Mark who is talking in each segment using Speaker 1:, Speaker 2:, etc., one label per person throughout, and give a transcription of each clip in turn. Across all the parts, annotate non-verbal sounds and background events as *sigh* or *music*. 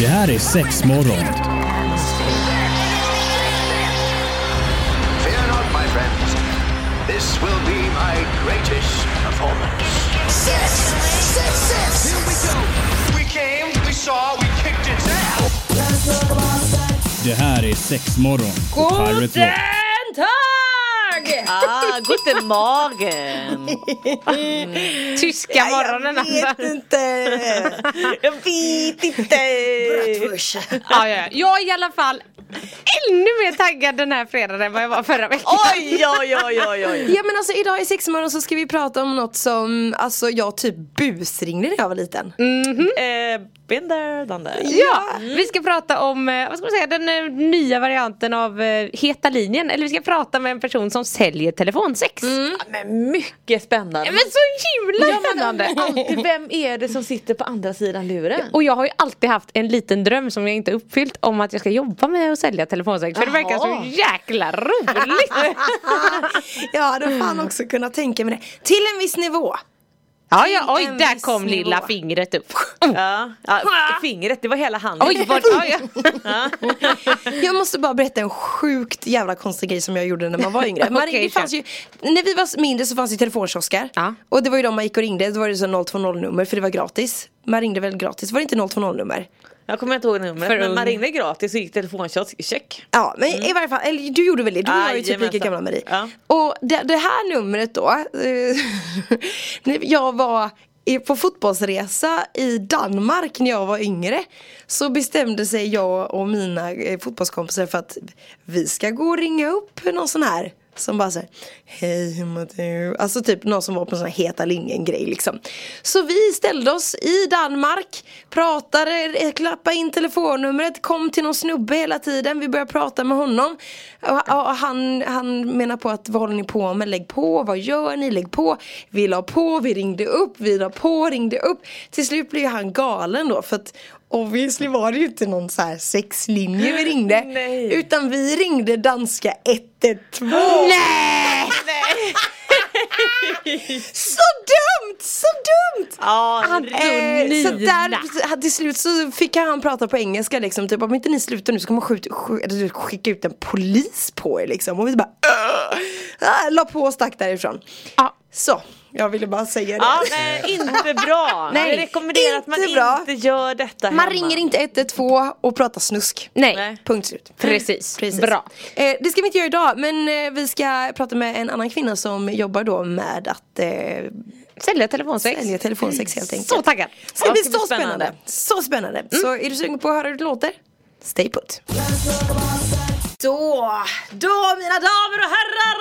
Speaker 1: Det här är sex morgon.
Speaker 2: Fear not, my friends. This will be my greatest performance.
Speaker 3: Six, six, six.
Speaker 2: We came, we saw, we kicked its ass.
Speaker 1: Det här är sex morgon. på
Speaker 4: Guten
Speaker 1: Pirate Rock.
Speaker 4: Tag!
Speaker 5: Ah, guten
Speaker 6: *laughs*
Speaker 5: Morgen! Tyska morgonen alltså.
Speaker 7: Jag vet inte. Jag vet inte.
Speaker 3: Push.
Speaker 5: Ja, ja, ja. Jag är i alla fall ännu mer taggad den här fredagen än vad jag var förra veckan.
Speaker 7: Oj, oj, oj, oj, oj. Ja men alltså idag i sexmorgon så ska vi prata om något som, alltså jag typ busringde när jag var liten.
Speaker 5: Mm. Eh,
Speaker 7: Been there, done there.
Speaker 5: ja, vi ska prata om eh, vad ska man säga, den eh, nya varianten av eh, Heta linjen. Eller vi ska prata med en person som säljer telefonsex.
Speaker 6: Mm. Men mycket spännande.
Speaker 5: Men så himla spännande!
Speaker 6: Alltid, vem är det som sitter på andra sidan luren?
Speaker 5: Och jag har ju alltid haft en liten dröm som jag inte uppfyllt om att jag ska jobba med att sälja telefonsex. För det verkar så
Speaker 6: Jaha.
Speaker 5: jäkla roligt!
Speaker 7: Jag hade fan också kunnat tänka mig det. Till en
Speaker 5: *laughs*
Speaker 7: viss nivå.
Speaker 5: Ja, ja, oj,
Speaker 7: en
Speaker 5: där
Speaker 7: viss
Speaker 5: kom
Speaker 7: nivå.
Speaker 5: lilla fingret upp.
Speaker 6: Ja, ja, fingret, det var hela handen.
Speaker 5: *laughs* Oj, vad, ja, ja.
Speaker 7: Jag måste bara berätta en sjukt jävla konstig grej som jag gjorde när man var yngre.
Speaker 5: *laughs*
Speaker 7: Man
Speaker 5: Okej,
Speaker 7: ringde, det fanns ju, när vi var mindre så fanns det ju telefonkiosker.
Speaker 5: Ja.
Speaker 7: Och det var ju de man gick och ringde, då var det så 020-nummer för det var gratis. Man ringde väl gratis, var det inte 020-nummer?
Speaker 6: Jag kommer inte ihåg numret
Speaker 5: För
Speaker 6: men
Speaker 5: ung.
Speaker 6: man ringde gratis och gick telefonkiosk, check.
Speaker 7: Ja men i varje fall, eller du gjorde väl det? Du och jag är ju typ
Speaker 6: Mm. Jajamensan.
Speaker 7: lika gamla Marie.
Speaker 6: Ja.
Speaker 7: Och det, det här numret då, eh, *laughs* när jag var i- på fotbollsresa i Danmark när jag var yngre Så bestämde sig jag och mina eh, fotbollskompisar för att vi ska gå och ringa upp någon sån här som bara säger Hej hur mår du? Alltså typ någon som var på en sån här heta linjen grej liksom Så vi ställde oss i Danmark Pratade, eh, klappade in telefonnumret Kom till någon snubbe hela tiden Vi började prata med honom och, och, och han, han menar på att vad håller ni på med? Lägg på, vad gör ni? Lägg på Vi la på, vi ringde upp, vi la på, ringde upp Till slut blev ju han galen då för att Obviously var det ju inte någon så här sexlinje vi ringde
Speaker 6: Nej.
Speaker 7: Utan vi ringde danska 112 Nej! så dumt, så dumt!
Speaker 6: Ja,
Speaker 5: Han-
Speaker 6: ri-
Speaker 7: Eh, så
Speaker 5: Nina.
Speaker 7: där, så- till slut så fick han prata på engelska liksom, typ om inte ni slutar nu så kommer jag skjuta, sk- eller typ skicka ut en polis på er liksom Och vi bara "Ugh." ah, La på och stack därifrån
Speaker 5: Ja.
Speaker 7: Så, jag ville bara säga det
Speaker 6: ja men inte bra.
Speaker 7: Nej,
Speaker 6: jag rekommenderar att man
Speaker 7: inte bra.
Speaker 6: inte gör detta
Speaker 7: Man
Speaker 6: hemma.
Speaker 7: ringer inte 112 och pratar snusk
Speaker 5: Nej.
Speaker 6: Nej.
Speaker 7: Punkt slut
Speaker 5: Precis. Bra.
Speaker 7: Eh, det ska vi inte göra idag men eh, vi ska prata med en annan kvinna som jobbar då med att eh,
Speaker 5: Sälja telefonsex.
Speaker 7: sälja telefonsex helt enkelt.
Speaker 5: Så taggad.
Speaker 7: Så det
Speaker 6: Ja,
Speaker 7: blir
Speaker 6: det blir
Speaker 7: så spännande. Mm.
Speaker 6: spännande.
Speaker 7: Så spännande. Så är du sugen på att höra hur det låter? Stay put. Då, då mina damer och herrar!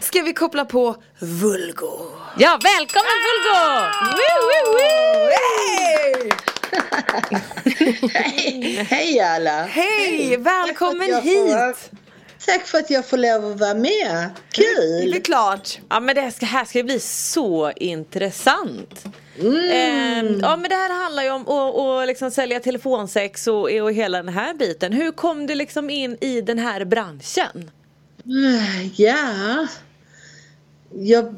Speaker 7: *laughs* ska vi koppla på Vulgo.
Speaker 5: Ja, välkommen Vulgo! Woo, woo, woo!
Speaker 7: Hey!
Speaker 8: Hej alla!
Speaker 7: Hej,
Speaker 8: Tack för
Speaker 7: välkommen
Speaker 8: att jag får-
Speaker 7: hit!
Speaker 8: Tack för att jag får lov att vara med.
Speaker 7: Det är väl
Speaker 8: Kul!
Speaker 7: klart.
Speaker 6: Ja men det här ska, här ska bli så intressant.
Speaker 8: Mm.
Speaker 6: Eh, ja men det här handlar ju om att, att liksom sälja telefonsex och, och hela den här biten. Hur kom du liksom in i den här branschen?
Speaker 8: Ja, jag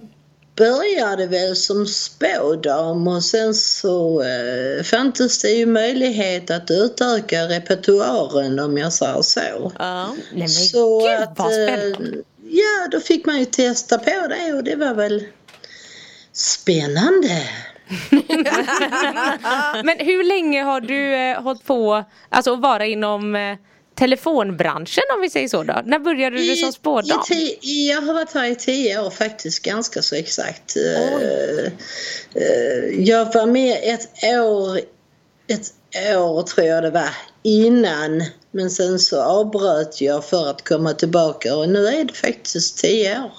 Speaker 8: började väl som spådam och sen så eh, fanns det ju möjlighet att utöka repertoaren om jag säger så.
Speaker 6: Ja.
Speaker 5: Nej, men
Speaker 8: så
Speaker 5: gud vad
Speaker 8: eh,
Speaker 5: spännande.
Speaker 8: Ja, då fick man ju testa på det och det var väl spännande.
Speaker 5: Men hur länge har du eh, hållit på alltså, att vara inom eh, telefonbranschen om vi säger så då? När började du som spådam?
Speaker 8: I, i, ti- jag har varit här i tio år faktiskt, ganska så exakt. Eh, eh, jag var med ett år, ett år tror jag det var, innan. Men sen så avbröt jag för att komma tillbaka och nu är det faktiskt tio år.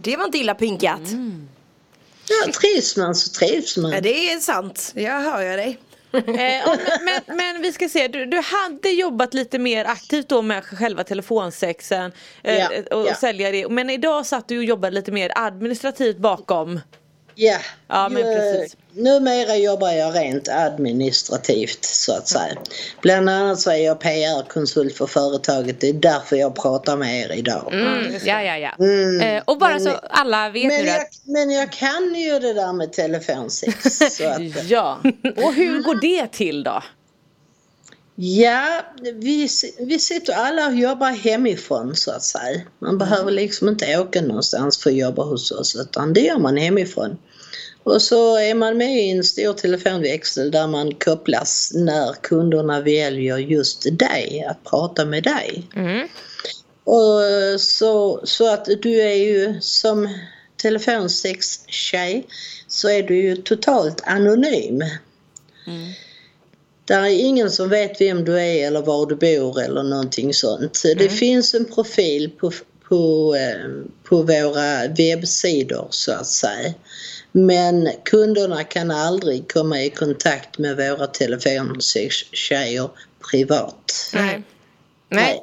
Speaker 7: Det var inte illa pinkat.
Speaker 8: Ja, trivs man så trivs man.
Speaker 7: Ja, det är sant. Jag hör jag dig.
Speaker 6: Eh, ja, men, men, men vi ska se, du, du hade jobbat lite mer aktivt då med själva telefonsexen eh,
Speaker 8: Ja,
Speaker 6: och, och
Speaker 8: ja.
Speaker 6: sälja det. Men idag satt du och jobbade lite mer administrativt bakom.
Speaker 8: Ja,
Speaker 6: Ja, men
Speaker 8: ju-
Speaker 6: precis.
Speaker 8: numera jobbar jag rent administrativt så att säga. Bland annat så är jag PR-konsult för företaget. Det är därför jag pratar med er idag.
Speaker 5: Mm, ja, ja, ja. Eh, och bara så alla vet
Speaker 8: Men
Speaker 5: nu
Speaker 8: jag,
Speaker 5: att...
Speaker 8: men jag kan ju det där med telefonsex. så
Speaker 5: *laughs*
Speaker 8: att,
Speaker 6: Ja, och hur går det till då?
Speaker 8: ja, vi, si- vi sitter alla och jobbar hemifrån så att säga. Man behöver liksom inte åka någonstans för att jobba hos oss utan det gör man hemifrån. Och så är man med i en stor telefonväxel där man kopplas när kunderna väljer just dig, att prata med dig.
Speaker 5: Mm.
Speaker 8: Och så, så att du är ju som telefonsextjej så är du ju totalt anonym. Där är ingen som vet vem du är eller var du bor eller någonting sånt. Det finns en profil på, på, eh, på våra webbsidor så att säga. Men kunderna kan aldrig komma i kontakt med våra telefonsextjejer privat.
Speaker 5: Nej.
Speaker 8: Nej.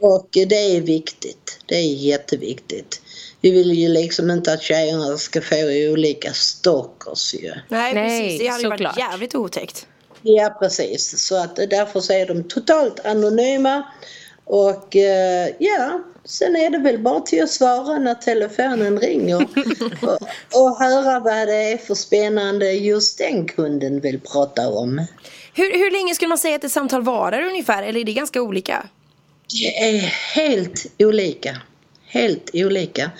Speaker 8: Och det är viktigt. Det är jätteviktigt. Vi vill ju liksom inte att tjejerna ska få olika stalkers ju.
Speaker 5: Nej,
Speaker 7: Nej, precis, det hade ju varit
Speaker 5: såklart.
Speaker 7: jävligt otäckt.
Speaker 8: Ja precis, så att därför så är de totalt anonyma. Och eh, ja, sen är det väl bara till att svara när telefonen ringer och, och höra vad det är för spännande just den kunden vill prata om.
Speaker 7: Hur, hur länge skulle man säga att ett samtal varar ungefär? Eller är det ganska olika?
Speaker 8: Det är helt olika. Helt olika.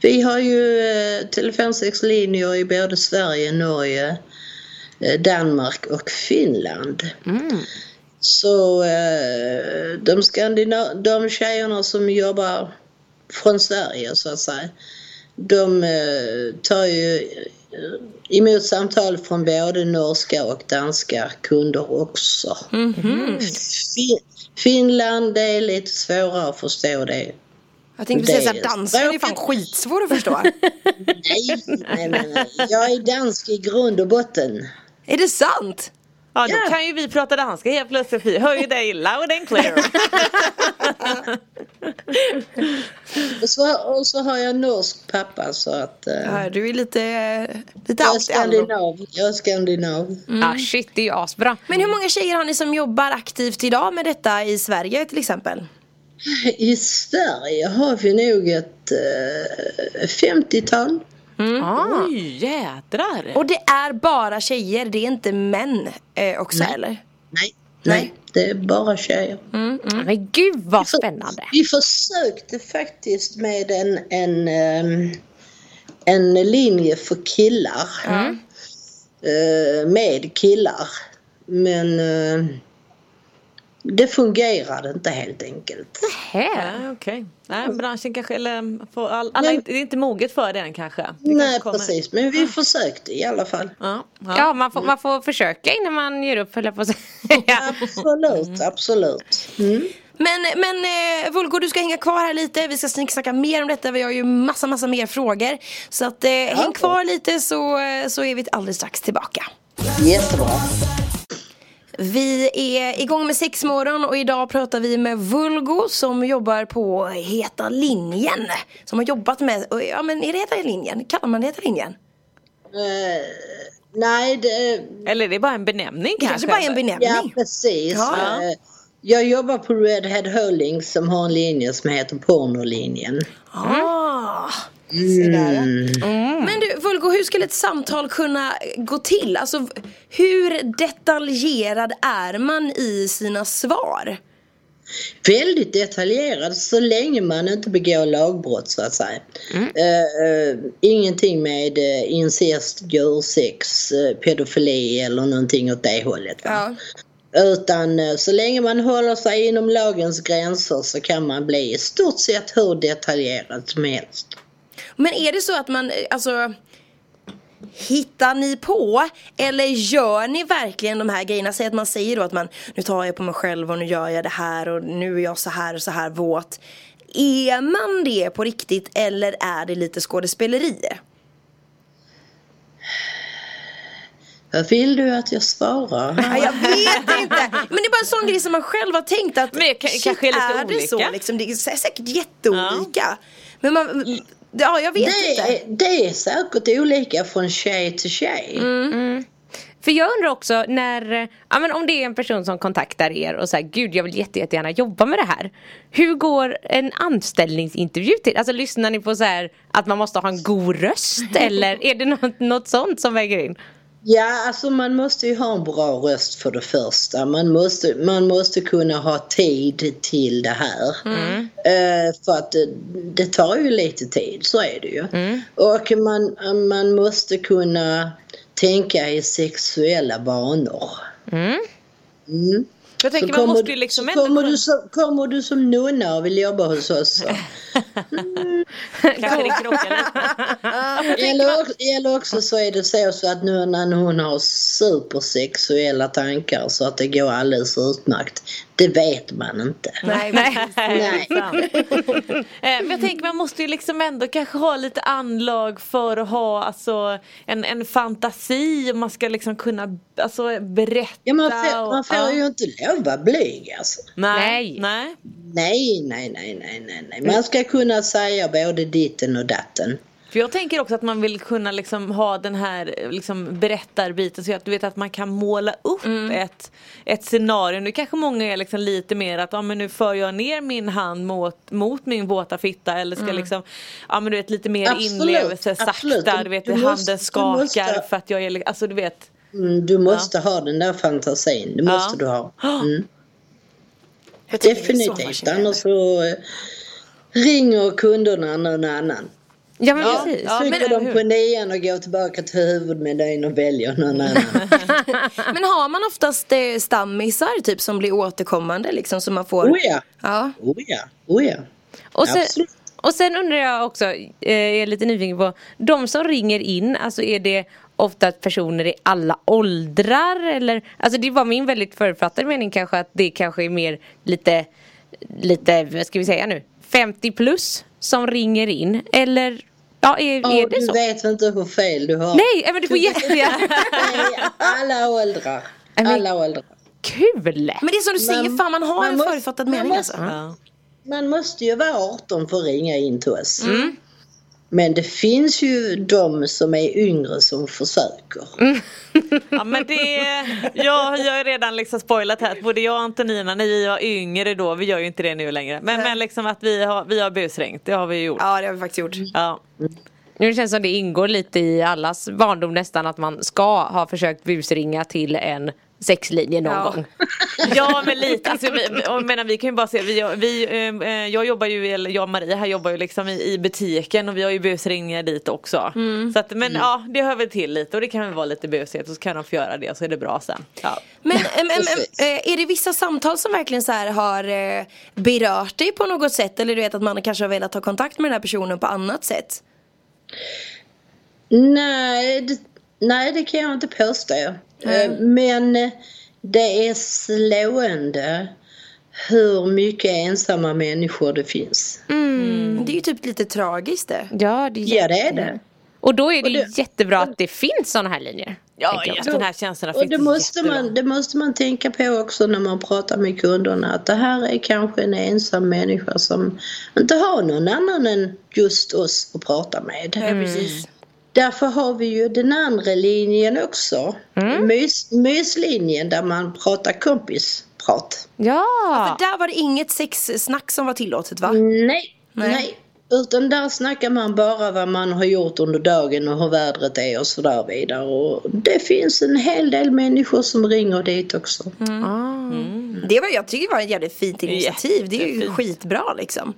Speaker 8: Vi har ju eh, telefonsexlinjer i både Sverige, Norge, eh, Danmark och Finland. Så eh, de, skandina- de tjejerna som jobbar från Sverige så att säga, de eh, tar ju eh, emot samtal från både norska och danska kunder också. Fin- Finland, det är lite svårare att förstå det.
Speaker 7: Jag tänkte precis
Speaker 8: Det är
Speaker 7: att dansen är fan
Speaker 8: språket.
Speaker 7: skitsvår att *laughs* förstå.
Speaker 8: Nej, nej, nej, nej. Jag är dansk i grund och botten.
Speaker 7: är det sant?
Speaker 6: Ja,
Speaker 8: Ja.
Speaker 6: då kan ju vi prata danska helt plötsligt. Vi hör ju dig loud and clear.
Speaker 8: Och så, och så har jag norsk pappa så att... eh,
Speaker 7: Ja, du är lite, lite
Speaker 8: jag är
Speaker 7: allt i allo.
Speaker 8: skandinav. Jag är skandinav.
Speaker 5: Ah, shit, det är ju asbra.
Speaker 7: Men hur många tjejer har ni som jobbar aktivt idag med detta i Sverige till exempel?
Speaker 8: I Sverige har vi nog ett eh, 50-tal.
Speaker 5: Ah.
Speaker 6: Oj, jädrar.
Speaker 7: Och det är bara tjejer, det är inte män eh, också eller?
Speaker 8: Nej, nej. Det är bara tjejer.
Speaker 5: Mm. Men gud vad spännande.
Speaker 8: Vi försökte faktiskt med en, en, ehm, en linje för killar.
Speaker 6: Mm.
Speaker 8: Eh, Med killar. Men eh, det fungerade inte helt enkelt.
Speaker 5: Här.
Speaker 6: Ja, okej. Nej, branschen kanske, eller mm, får all, alla, är inte- det är inte moget för det än kanske. Det kanske
Speaker 8: Nej,
Speaker 6: kommer.
Speaker 8: precis. Men vi försökte i alla fall.
Speaker 6: Ja, *laughs* ja.
Speaker 5: Ja, man får, man får försöka innan man ger upp, höll jag på att säga.
Speaker 8: Absolut, absolut.
Speaker 7: Men, men eh, Vulgo du ska hänga kvar här lite, vi ska snacka mer om detta, vi har ju massa massa mer frågor. Så att, eh, häng kvar lite så, eh, så är vi alldeles strax tillbaka.
Speaker 8: Jättebra.
Speaker 7: Vi är igång med sexmorgon och idag pratar vi med Vulgo som jobbar på Heta linjen. Som har jobbat med, ja men är det Heta linjen? Kallar man det Heta linjen?
Speaker 8: Eh, nej, det,
Speaker 6: Eller det är bara en benämning
Speaker 7: Det kanske bara är en
Speaker 8: ja
Speaker 7: benämning.
Speaker 8: precis.
Speaker 7: Ja.
Speaker 8: Eh, jag jobbar på Red Hat Holdings som har en linje som heter Pornolinjen.
Speaker 7: Ah. Mm. Men du Vulgo, hur skulle ett samtal kunna gå till? Alltså hur detaljerad är man i sina svar?
Speaker 8: väldigt detaljerad så länge man inte begår lagbrott så att säga.
Speaker 7: Mm.
Speaker 8: Eh, eh, ingenting med eh, incest, djursex, eh, pedofili eller någonting åt det hållet. Va? Utan eh, så länge man håller sig inom lagens gränser så kan man bli i stort sett hur detaljerad som helst.
Speaker 7: Men är det så att man, eh, alltså Hittar ni på eller gör ni verkligen de här grejerna? Säg att man säger då att man nu tar jag på mig själv och nu gör jag det här och nu är jag så här och så här våt. Är man det på riktigt eller är det lite skådespeleri?
Speaker 8: Vad vill du att jag svarar?
Speaker 7: Ja, jag vet inte! Men det är bara en sån grej som man själv har tänkt att
Speaker 6: Men det kan-
Speaker 7: shit,
Speaker 6: kanske är lite
Speaker 7: är det så
Speaker 6: olika.
Speaker 7: liksom? Det är sä- säkert jätteolika. Men man, Ja, jag vet
Speaker 8: Det
Speaker 7: inte.
Speaker 8: är, det är säkert olika från tjej till tjej.
Speaker 7: Mm.
Speaker 5: alltså. För jag undrar också när, eh, ja men om det är en person som kontaktar er och säger gud jag vill jätte, jättegärna jobba med det här. Hur går en anställningsintervju till? Alltså lyssnar ni på så här att man måste ha en god
Speaker 6: *laughs*
Speaker 5: röst eller är det något, något sånt som väger in?
Speaker 8: Ja, alltså man måste ju ha en bra röst för det första. Man måste, man måste kunna ha tid till det här.
Speaker 6: Mm.
Speaker 8: Eh, för att det, det tar ju lite tid, så är det ju.
Speaker 6: Mm.
Speaker 8: Och man, man måste kunna tänka i sexuella banor. Mm.
Speaker 6: Jag tänker
Speaker 8: Så
Speaker 6: man
Speaker 8: kommer-
Speaker 6: måste ju liksom
Speaker 8: så
Speaker 6: ändå
Speaker 8: kommer,
Speaker 6: kunna...
Speaker 8: du som, kommer du som nunna och vill jobba hos
Speaker 6: *laughs*
Speaker 8: oss så.
Speaker 6: Kanske det krockar lite.
Speaker 8: Eller, också- eller också så är det så, så att nu när hon har supersexuella tankar så att det går alldeles utmärkt. Det vet man inte.
Speaker 7: Nej, men,
Speaker 8: Nej.
Speaker 6: Eh, Men jag tänker man måste ju liksom ändå kanske ha lite anlag för att ha alltså, en, en fantasi och man ska liksom kunna alltså, berätta.
Speaker 8: Ja, man får,
Speaker 6: och-
Speaker 8: man får
Speaker 6: ja.
Speaker 8: ju inte lov att vara blyg alltså.
Speaker 6: Nej.
Speaker 5: Nej.
Speaker 6: Nej.
Speaker 8: Nej, nej, nej, nej, nej, nej. Man ska kunna säga både ditten och datten.
Speaker 6: För jag tänker också att man vill kunna liksom ha den här eh, liksom berättarbiten så att du vet att man kan måla upp
Speaker 8: Mm.
Speaker 6: ett, ett scenario. Nu kanske många är liksom lite mer att ah, men nu för jag ner min hand mot, mot min våta fitta eller ska liksom, ja men du vet lite mer
Speaker 8: Mm. Absolut,
Speaker 6: inlevelse sakta,
Speaker 8: absolut.
Speaker 6: du vet
Speaker 8: Du måste-
Speaker 6: handen
Speaker 8: du
Speaker 6: skakar
Speaker 8: måste-
Speaker 6: för att jag är, li- alltså du vet.
Speaker 8: Mm, du måste ha den där fantasin. Det måste
Speaker 6: Ja.
Speaker 8: du
Speaker 6: *gasps*
Speaker 8: ha. Mm.
Speaker 6: Jag tycker det är så man
Speaker 8: Definitivt.
Speaker 6: känner.
Speaker 8: Annars så eh, ringer kunderna någon annan.
Speaker 5: Ja men
Speaker 6: Ja.
Speaker 5: precis.
Speaker 6: men
Speaker 8: Trycker
Speaker 6: eller
Speaker 8: de
Speaker 6: hur?
Speaker 8: på nian och går tillbaka till huvudmenyn och väljer någon
Speaker 6: *laughs*
Speaker 8: annan.
Speaker 7: men har man oftast eh, stammisar typ som blir återkommande liksom som man får?
Speaker 8: Oh ja,
Speaker 7: Ja.
Speaker 8: oh ja, oh ja.
Speaker 5: Och sen,
Speaker 8: Absolut.
Speaker 5: och sen undrar jag också, eh, jag är lite nyfiken på, de som ringer in, alltså är det ofta personer i alla åldrar eller? Alltså det var min väldigt förutfattade mening kanske att det kanske är mer lite, lite, vad ska vi säga nu, 50 plus som ringer in eller? Ja, är, är
Speaker 8: Och
Speaker 5: det
Speaker 8: du
Speaker 5: så?
Speaker 8: vet inte hur fel du har.
Speaker 5: Nej, äh, men du får
Speaker 8: *laughs*
Speaker 5: jättegärna.
Speaker 8: Nej, alla åldrar.
Speaker 5: men-
Speaker 8: Alla åldrar.
Speaker 5: Kul!
Speaker 7: Men det är som du säger,
Speaker 8: Man-
Speaker 7: fan man har
Speaker 8: man
Speaker 7: en
Speaker 8: måste-
Speaker 7: förutfattad
Speaker 8: man
Speaker 7: mening
Speaker 8: måste-
Speaker 7: alltså.
Speaker 6: Ja.
Speaker 8: Man måste ju vara 18 för att ringa in till oss.
Speaker 6: Mm.
Speaker 8: Men det finns ju de som är yngre som försöker.
Speaker 6: Mm. Ja men det, jag, jag har ju redan liksom spoilat här att både jag och Antonina när vi var yngre då, vi gör ju inte det nu längre. Men, men liksom att vi har, vi har busringt, det har vi gjort.
Speaker 7: Ja det har vi faktiskt
Speaker 8: Mm.
Speaker 7: gjort.
Speaker 6: Ja.
Speaker 5: Nu känns det som det ingår lite i allas barndom nästan att man ska ha försökt busringa till en sexlinje någon
Speaker 7: Ja.
Speaker 5: gång.
Speaker 6: Ja men lite, alltså, vi, jag menar, vi kan ju bara se, vi, vi, eh, eh, jag jobbar ju, eller jag och Maria här jobbar ju liksom i, i butiken och vi har ju busringningar dit också.
Speaker 8: Mm.
Speaker 6: Så att, men ja, det hör väl till lite och det kan väl vara lite busigt och så kan de få göra det och så är det bra sen. Ja.
Speaker 7: Men em, em, em,
Speaker 8: Precis.
Speaker 7: eh, är det vissa samtal som verkligen så här har eh, berört dig på något sätt? Eller du vet att man kanske har velat ta kontakt med den här personen på annat sätt?
Speaker 8: Nej, det, nej, det kan jag inte påstå. Eh, Men det är slående hur mycket ensamma människor det finns.
Speaker 7: Det är ju typ lite tragiskt det.
Speaker 5: Ja, det är
Speaker 8: Ja, det är det.
Speaker 5: Och då är det ju jättebra att det finns sådana här linjer.
Speaker 6: Ja,
Speaker 5: tänker jag.
Speaker 6: just den här känslan har
Speaker 8: Och det
Speaker 6: funnits
Speaker 8: måste,
Speaker 6: jättelänge.
Speaker 8: man, det måste man tänka på också när man pratar med kunderna att det här är kanske en ensam människa som inte har någon annan än just oss att prata med.
Speaker 7: Mm. Precis.
Speaker 8: Därför har vi ju den andra linjen också. Mys, myslinjen där man pratar kompisprat.
Speaker 5: Ja,
Speaker 7: Där var det inget sexsnack som var tillåtet va?
Speaker 8: Nej,
Speaker 7: Nej.
Speaker 8: nej. Utan där snackar man bara vad man har gjort under dagen och hur vädret är och sådär vidare. Och det finns en hel del människor som ringer dit också.
Speaker 6: Mm.
Speaker 7: Det var, jag tycker det var ett jävligt fint initiativ. Det är ju skitbra liksom.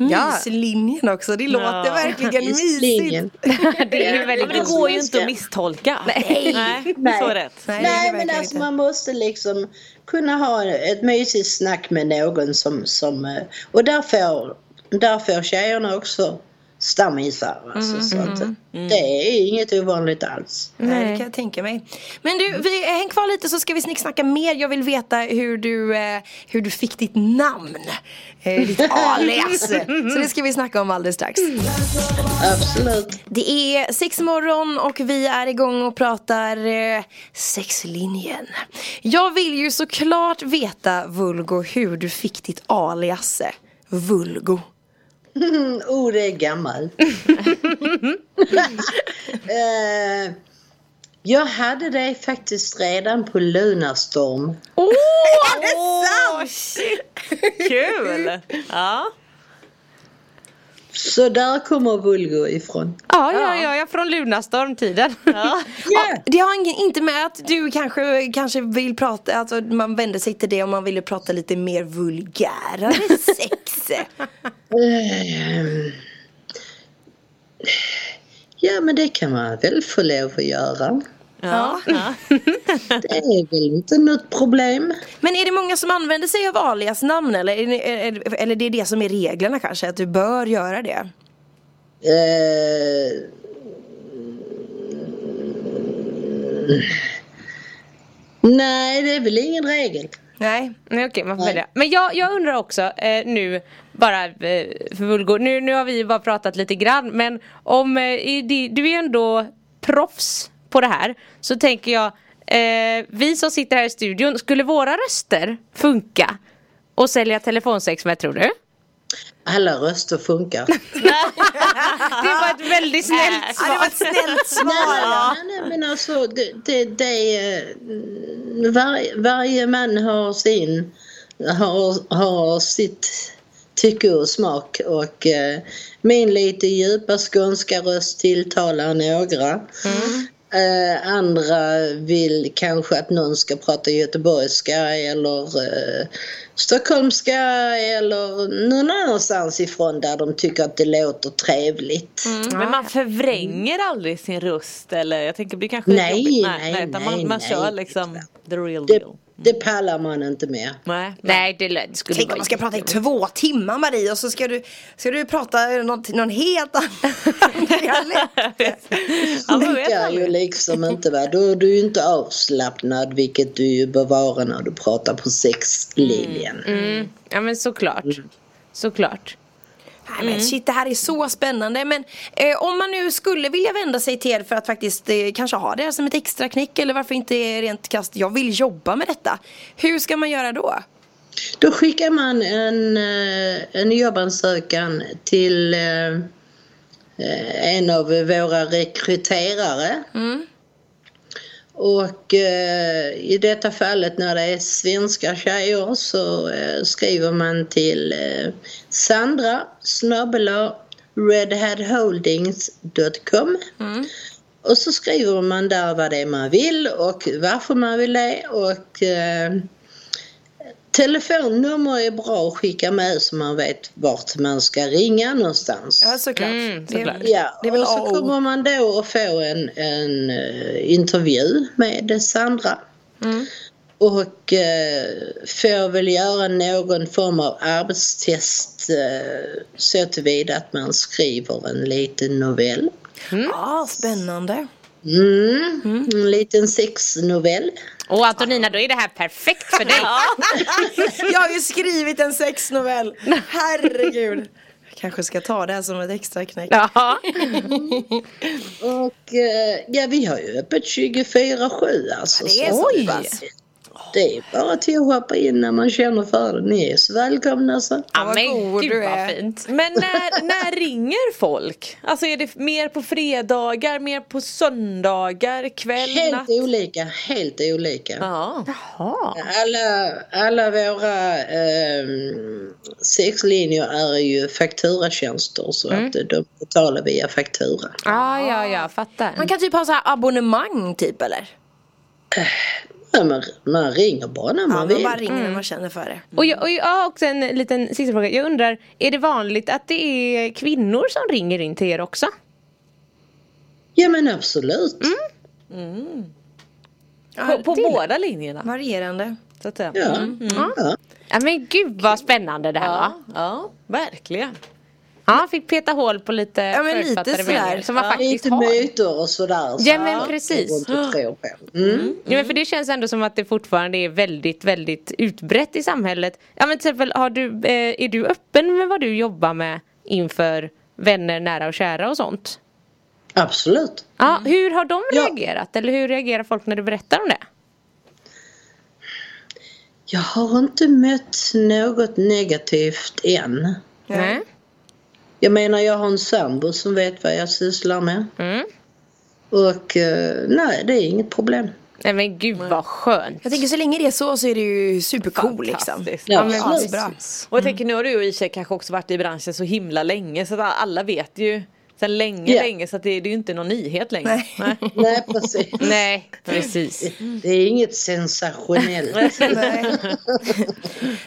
Speaker 7: Myslinjen också, det låter verkligen mysigt.
Speaker 8: Myslinjen.
Speaker 5: *laughs* det är ju
Speaker 6: Ja,
Speaker 5: väldigt
Speaker 6: men det går ju inte att misstolka. Nej, Nej. så rätt.
Speaker 7: Nej, det är det
Speaker 8: Nej men
Speaker 7: verkligen
Speaker 8: alltså
Speaker 7: inte.
Speaker 8: man måste liksom kunna ha ett mysigt snack med någon som, som eh, och där får, där får tjejerna också stammisar alltså,
Speaker 6: Mm,
Speaker 8: så att det är inget ovanligt alls.
Speaker 7: Nej, det kan jag tänka mig. Men du, vi, eh, häng kvar lite så ska vi snicksnacka mer. Jag vill veta hur du, eh, hur du fick ditt namn. Eh, *laughs* ditt alias. så det ska vi snacka om alldeles strax.
Speaker 8: Absolut.
Speaker 7: Det är sex morgon och vi är igång och pratar eh, sexlinjen. Jag vill ju såklart veta Vulgo hur du fick ditt alias eh, Vulgo.
Speaker 8: Mm, *laughs* oh, det är gammal. Eh, jag hade dig faktiskt redan på Lunarstorm.
Speaker 6: Kul! Ja.
Speaker 8: Så där kommer Vulgo ifrån.
Speaker 5: Ja, Alltså, ja, ja, ja från Lunastorm-tiden. Ja.
Speaker 7: Ja, det har ingen- inte med att du kanske, kanske vill prata, alltså man vänder sig till det om man ville prata lite mer vulgärare sex.
Speaker 8: Eh, ja, men det kan man väl få lov att göra.
Speaker 7: Ja.
Speaker 8: Det är väl inte något problem.
Speaker 7: Men är det många som använder sig av alias namn eller, är det- är- eller det är det som är reglerna kanske, att du bör göra det?
Speaker 8: Eh, nej, det är väl ingen regel.
Speaker 7: Nej.
Speaker 5: *laughs* Nej, okej, man får välja. Men jag, jag undrar också eh, nu, bara eh, för Vulgo, nu, nu har vi ju bara pratat lite grann, men om eh, i di- du är ju ändå proffs på det här, så tänker jag, eh, vi som sitter här i studion, skulle våra röster funka? Och sälja telefonsex med, tror du?
Speaker 8: Alla röster funkar.
Speaker 5: Det var ett väldigt snällt
Speaker 7: Ja, det var ett snällt svar.
Speaker 8: Nej, nej, men alltså det, det, det är, mm, var, varje man har sin, har, har sitt tycke och smak och eh, min lite djupa skånska röst tilltalar några. Eh, andra vill kanske att någon ska prata göteborgska eller eh, stockholmska eller någon annanstans ifrån där de tycker att det låter trevligt.
Speaker 6: Men man förvränger aldrig sin röst eller jag tänker det blir kanske
Speaker 8: Mm. Nej,
Speaker 6: jobbigt.
Speaker 8: nej,
Speaker 6: utan
Speaker 8: nej,
Speaker 6: man, man
Speaker 8: nej.
Speaker 6: kör liksom the real
Speaker 8: Det,
Speaker 6: deal.
Speaker 8: det pallar man inte med.
Speaker 6: Nej.
Speaker 5: *laughs* Nej, det, lät- det skulle
Speaker 7: Tänk
Speaker 5: vara
Speaker 7: om man ska prata i två timmar Marie och så ska du, ska du prata någon, någon helt annan *laughs* dialekt.
Speaker 6: *laughs* Ja, man vet
Speaker 8: funkar ju
Speaker 6: aldrig.
Speaker 8: liksom inte va. Då är du ju inte avslappnad vilket du ju bevarar när du pratar på sexlinjen.
Speaker 5: Mm, ja men såklart.
Speaker 8: Mm.
Speaker 5: Såklart.
Speaker 7: Nej, men shit, det här är så spännande. Men eh, om man nu skulle vilja vända sig till er för att faktiskt eh, kanske ha det här som ett extra knäck eller varför inte rent kast, jag vill jobba med detta. Hur ska man göra då?
Speaker 8: Då skickar man en, eh, en jobbansökan till eh, eh, en av våra rekryterare. Och eh, i detta fallet när det är svenska tjejer så eh, skriver man till eh, Sandra snabel-a redheadholdings.com Och så skriver man där vad det är man vill och varför man vill det och eh, Telefonnummer är bra att skicka med så man vet vart man ska ringa någonstans.
Speaker 7: Ja Mm, såklart.
Speaker 5: såklart.
Speaker 7: Det,
Speaker 8: Ja,
Speaker 7: det är väl
Speaker 8: och så
Speaker 7: A och O.
Speaker 8: kommer man då att få en, en eh, intervju med Sandra.
Speaker 7: Mm.
Speaker 8: Och eh, får väl göra någon form av arbetstest eh, så tillvida att man skriver en liten novell.
Speaker 7: Ja, spännande.
Speaker 8: Mm, En liten sexnovell.
Speaker 5: Och Antonina, då är det här perfekt för *laughs* dig.
Speaker 7: Jag har ju skrivit en sexnovell. Herregud. Jag kanske ska ta det här som ett extra knäck.
Speaker 5: Ja.
Speaker 8: Och eh, ja, vi har ju öppet 24-7 alltså.
Speaker 7: Det är
Speaker 8: så-
Speaker 7: så pass.
Speaker 8: Det är bara till att hoppa in när man känner för det. Ni är så välkomna så.
Speaker 5: Ja,
Speaker 7: vad
Speaker 5: men
Speaker 7: god
Speaker 5: gud
Speaker 7: du
Speaker 5: vad
Speaker 7: är.
Speaker 5: fint.
Speaker 6: Men när, när ringer folk? Alltså är det mer på fredagar, mer på söndagar, kväll, natt?
Speaker 8: Helt olika, helt olika.
Speaker 6: Ja.
Speaker 8: Alla, alla våra eh, sexlinjer är ju fakturatjänster så att de betalar via faktura.
Speaker 5: Ja, ja, ja, fattar.
Speaker 7: Man kan typ ha så här abonnemang typ eller?
Speaker 8: Ja, man, man ringer bara när
Speaker 7: Ja,
Speaker 8: man
Speaker 7: man
Speaker 8: vill.
Speaker 7: bara ringer när man känner för det.
Speaker 5: Och jag, och jag har också en liten sista fråga. Jag undrar, är det vanligt att det är kvinnor som ringer in till er också?
Speaker 8: Ja men absolut.
Speaker 6: På, på båda linjerna.
Speaker 7: Varierande.
Speaker 6: Så att säga.
Speaker 8: Ja. Ja.
Speaker 5: Ja, men gud vad spännande det här var.
Speaker 6: Ja, ja, verkligen.
Speaker 5: Ja, fick peta hål på lite
Speaker 7: Ja, men lite
Speaker 5: förutfattade
Speaker 7: sådär.
Speaker 5: meningar som man
Speaker 7: Ja,
Speaker 5: faktiskt
Speaker 8: Lite
Speaker 5: har.
Speaker 8: myter och sådär.
Speaker 5: Ja,
Speaker 8: så
Speaker 5: men
Speaker 8: att
Speaker 5: precis.
Speaker 8: jag inte tror på. Mm.
Speaker 5: Ja, men för det känns ändå som att det fortfarande är väldigt, väldigt utbrett i samhället. Ja, men till exempel, har du, eh, är du öppen med vad du jobbar med inför vänner, nära och kära och sånt?
Speaker 8: Absolut.
Speaker 5: Ja,
Speaker 7: Mm.
Speaker 5: hur har de
Speaker 8: Ja.
Speaker 5: reagerat? Eller hur reagerar folk när du berättar om det?
Speaker 8: Jag har inte mött något negativt än.
Speaker 5: Nej.
Speaker 8: Jag menar jag har en sambo som vet vad jag sysslar med.
Speaker 5: Mm.
Speaker 8: Och eh, nej, det är inget problem.
Speaker 5: Nej men gud vad skönt.
Speaker 7: Jag tänker så länge det är så så är det ju supercool liksom.
Speaker 6: Fantastiskt.
Speaker 7: Ja, men
Speaker 8: absolut.
Speaker 7: asbra.
Speaker 6: Och jag
Speaker 5: Mm.
Speaker 6: tänker nu har du och i och för sig kanske också varit i branschen så himla länge så att alla vet ju sen länge
Speaker 8: Ja.
Speaker 6: länge så att det, det är ju inte någon nyhet längre.
Speaker 7: Nej.
Speaker 8: *laughs* Nej, precis.
Speaker 5: Nej *laughs* precis.
Speaker 8: Det är inget sensationellt.
Speaker 7: Nej.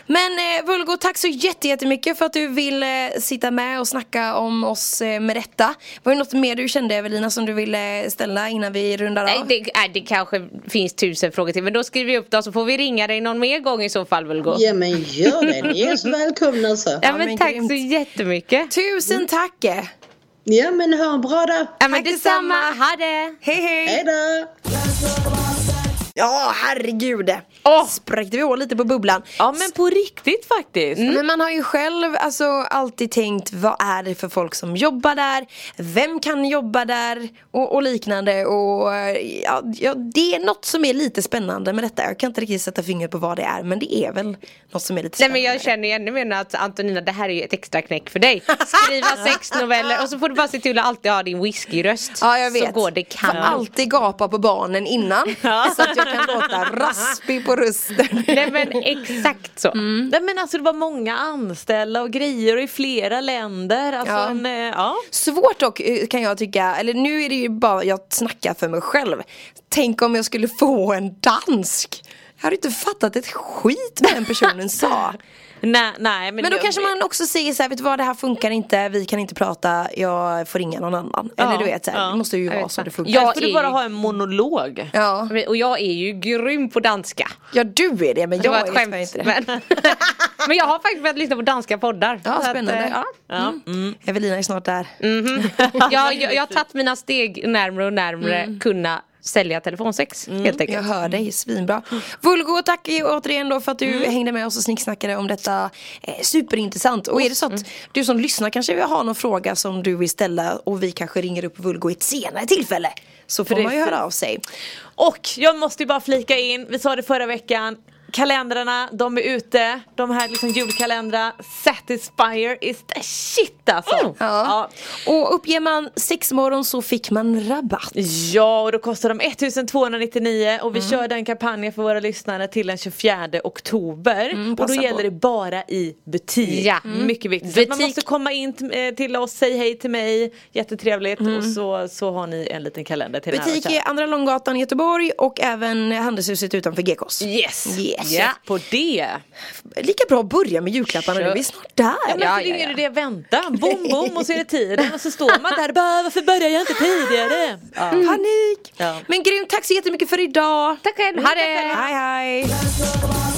Speaker 7: Men eh, Vulgo, tack så jätte- jättemycket för att du vill eh, sitta med och snacka om oss eh, med detta. Var det något mer du kände Evelina som du ville eh, ställa innan vi rundar
Speaker 5: Nej
Speaker 7: av?
Speaker 5: det, nej, det kanske finns tusen frågor till men då skriver vi upp dem så får vi ringa dig någon mer gång i så fall Vulgo.
Speaker 8: Ja men gör det, ni är så välkomna så.
Speaker 5: Ja men,
Speaker 7: men
Speaker 5: tack
Speaker 7: grymt.
Speaker 5: så jättemycket.
Speaker 7: Tusen tack! eh.
Speaker 8: Ja men ha en bra dag.
Speaker 5: Ja men
Speaker 7: Tack
Speaker 5: detsamma,
Speaker 7: detsamma.
Speaker 5: ha det.
Speaker 7: Hej hej!
Speaker 8: Hej då!
Speaker 7: Ja herregud!
Speaker 6: Åh.
Speaker 7: Spräckte vi hål lite på bubblan.
Speaker 6: Ja men på riktigt faktiskt.
Speaker 5: Mm.
Speaker 7: Men man har ju själv alltså, alltid tänkt vad är det för folk som jobbar där? Vem kan jobba där? Och, och liknande. Och, eh, ja, ja, det är något som är lite spännande med detta. Jag kan inte riktigt sätta fingret på vad det är men det är väl något som är lite
Speaker 5: Nej
Speaker 7: spännande.
Speaker 5: men jag känner ju ännu mer att Antonina det här är ju ett extra knäck för dig.
Speaker 7: *laughs*
Speaker 5: Skriva sex noveller och så får du bara se till att alltid ha din whiskyröst.
Speaker 7: Ja jag vet.
Speaker 5: Så går det
Speaker 7: Får
Speaker 5: kanon.
Speaker 7: alltid gapa på
Speaker 5: *laughs*
Speaker 7: barnen innan. Så att jag kan låta raspig på rösten.
Speaker 5: Nej men exakt så.
Speaker 7: Mm.
Speaker 6: Nej men alltså det var många anställda och grejer och i flera länder. Alltså
Speaker 7: Ja.
Speaker 6: ja. En, eh, ja.
Speaker 7: Svårt dock eh, kan jag tycka, eller nu är det ju bara jag snackar för mig själv. Tänk om jag skulle *laughs* få en dansk. Jag hade inte fattat ett skit vad den
Speaker 5: *laughs*
Speaker 7: personen sa.
Speaker 6: Nej, nej, men
Speaker 7: Men då
Speaker 6: jag-
Speaker 7: kanske man också säger så här, vet du vad det här funkar inte, vi kan inte prata, jag får ringa någon annan. Eller
Speaker 6: Ja,
Speaker 7: du vet så här,
Speaker 6: ja.
Speaker 7: det måste ju vara
Speaker 5: vet
Speaker 7: så
Speaker 5: fan.
Speaker 7: det funkar. Alltså,
Speaker 6: Eller
Speaker 5: Jag
Speaker 6: får du
Speaker 5: är-
Speaker 6: bara ha en monolog.
Speaker 7: Ja.
Speaker 5: Men- Och jag är ju grym på danska.
Speaker 7: ja, du är det men
Speaker 5: Det var
Speaker 7: jag
Speaker 5: ett
Speaker 7: är
Speaker 5: skämt.
Speaker 7: tyvärr inte det.
Speaker 5: Men, *laughs* men jag har faktiskt börjat lyssna på danska poddar.
Speaker 7: Ja,
Speaker 5: Så eh,
Speaker 7: spännande. Mm.
Speaker 5: ja. Mm.
Speaker 6: Ja.
Speaker 7: Evelina är snart där.
Speaker 5: *laughs* jag, jag, jag har tagit mina steg närmre och närmre kunna sälja telefonsex helt
Speaker 7: Jag
Speaker 5: enkelt.
Speaker 7: hör
Speaker 6: Mm.
Speaker 7: dig, svinbra. Vulgo, tack i- återigen då för att du hängde med oss och snicksnackade om detta. Eh, superintressant. Och är det så
Speaker 6: Mm.
Speaker 7: att du som lyssnar kanske vill ha någon fråga som du vill ställa och vi kanske ringer upp Vulgo i ett senare tillfälle. Så får man ju
Speaker 6: Precis.
Speaker 7: höra av sig.
Speaker 6: Och jag måste ju bara flika in, vi sa det förra veckan Kalendrarna, de är ute, de här liksom julkalendrar Satisfyer is the shit alltså!
Speaker 7: Mm. Ja. Och uppger man sexmorgon så fick man rabatt.
Speaker 6: Ja, och då kostar de 1299 och vi
Speaker 7: Mm.
Speaker 6: kör den kampanjen för våra lyssnare till den 24 oktober. och då
Speaker 7: Mm, passa
Speaker 6: gäller
Speaker 7: på.
Speaker 6: det bara i butik. Mm.
Speaker 5: Ja.
Speaker 6: Mycket viktigt. Så att Man
Speaker 5: Butik.
Speaker 6: måste komma in t- eh, till oss, säg hej till mig, jättetrevligt och så, så har ni en liten kalender till
Speaker 7: Mm. Butik
Speaker 6: nära
Speaker 7: i Andra Långgatan i Göteborg och även Handelshuset utanför GKs.
Speaker 6: Yes!
Speaker 7: Yes.
Speaker 6: Ja. På det!
Speaker 7: Lika bra att börja med julklapparna nu, vi är snart där.
Speaker 6: Ja, men för det är ingen idé att vänta. Bom, bom och så är det tiden och så står man där och bara varför börjar jag inte tidigare? Ja.
Speaker 7: Panik!
Speaker 6: Ja.
Speaker 7: Men grymt, tack så jättemycket för idag!
Speaker 5: Tack Mm, själv, ha det!
Speaker 7: Hej hej!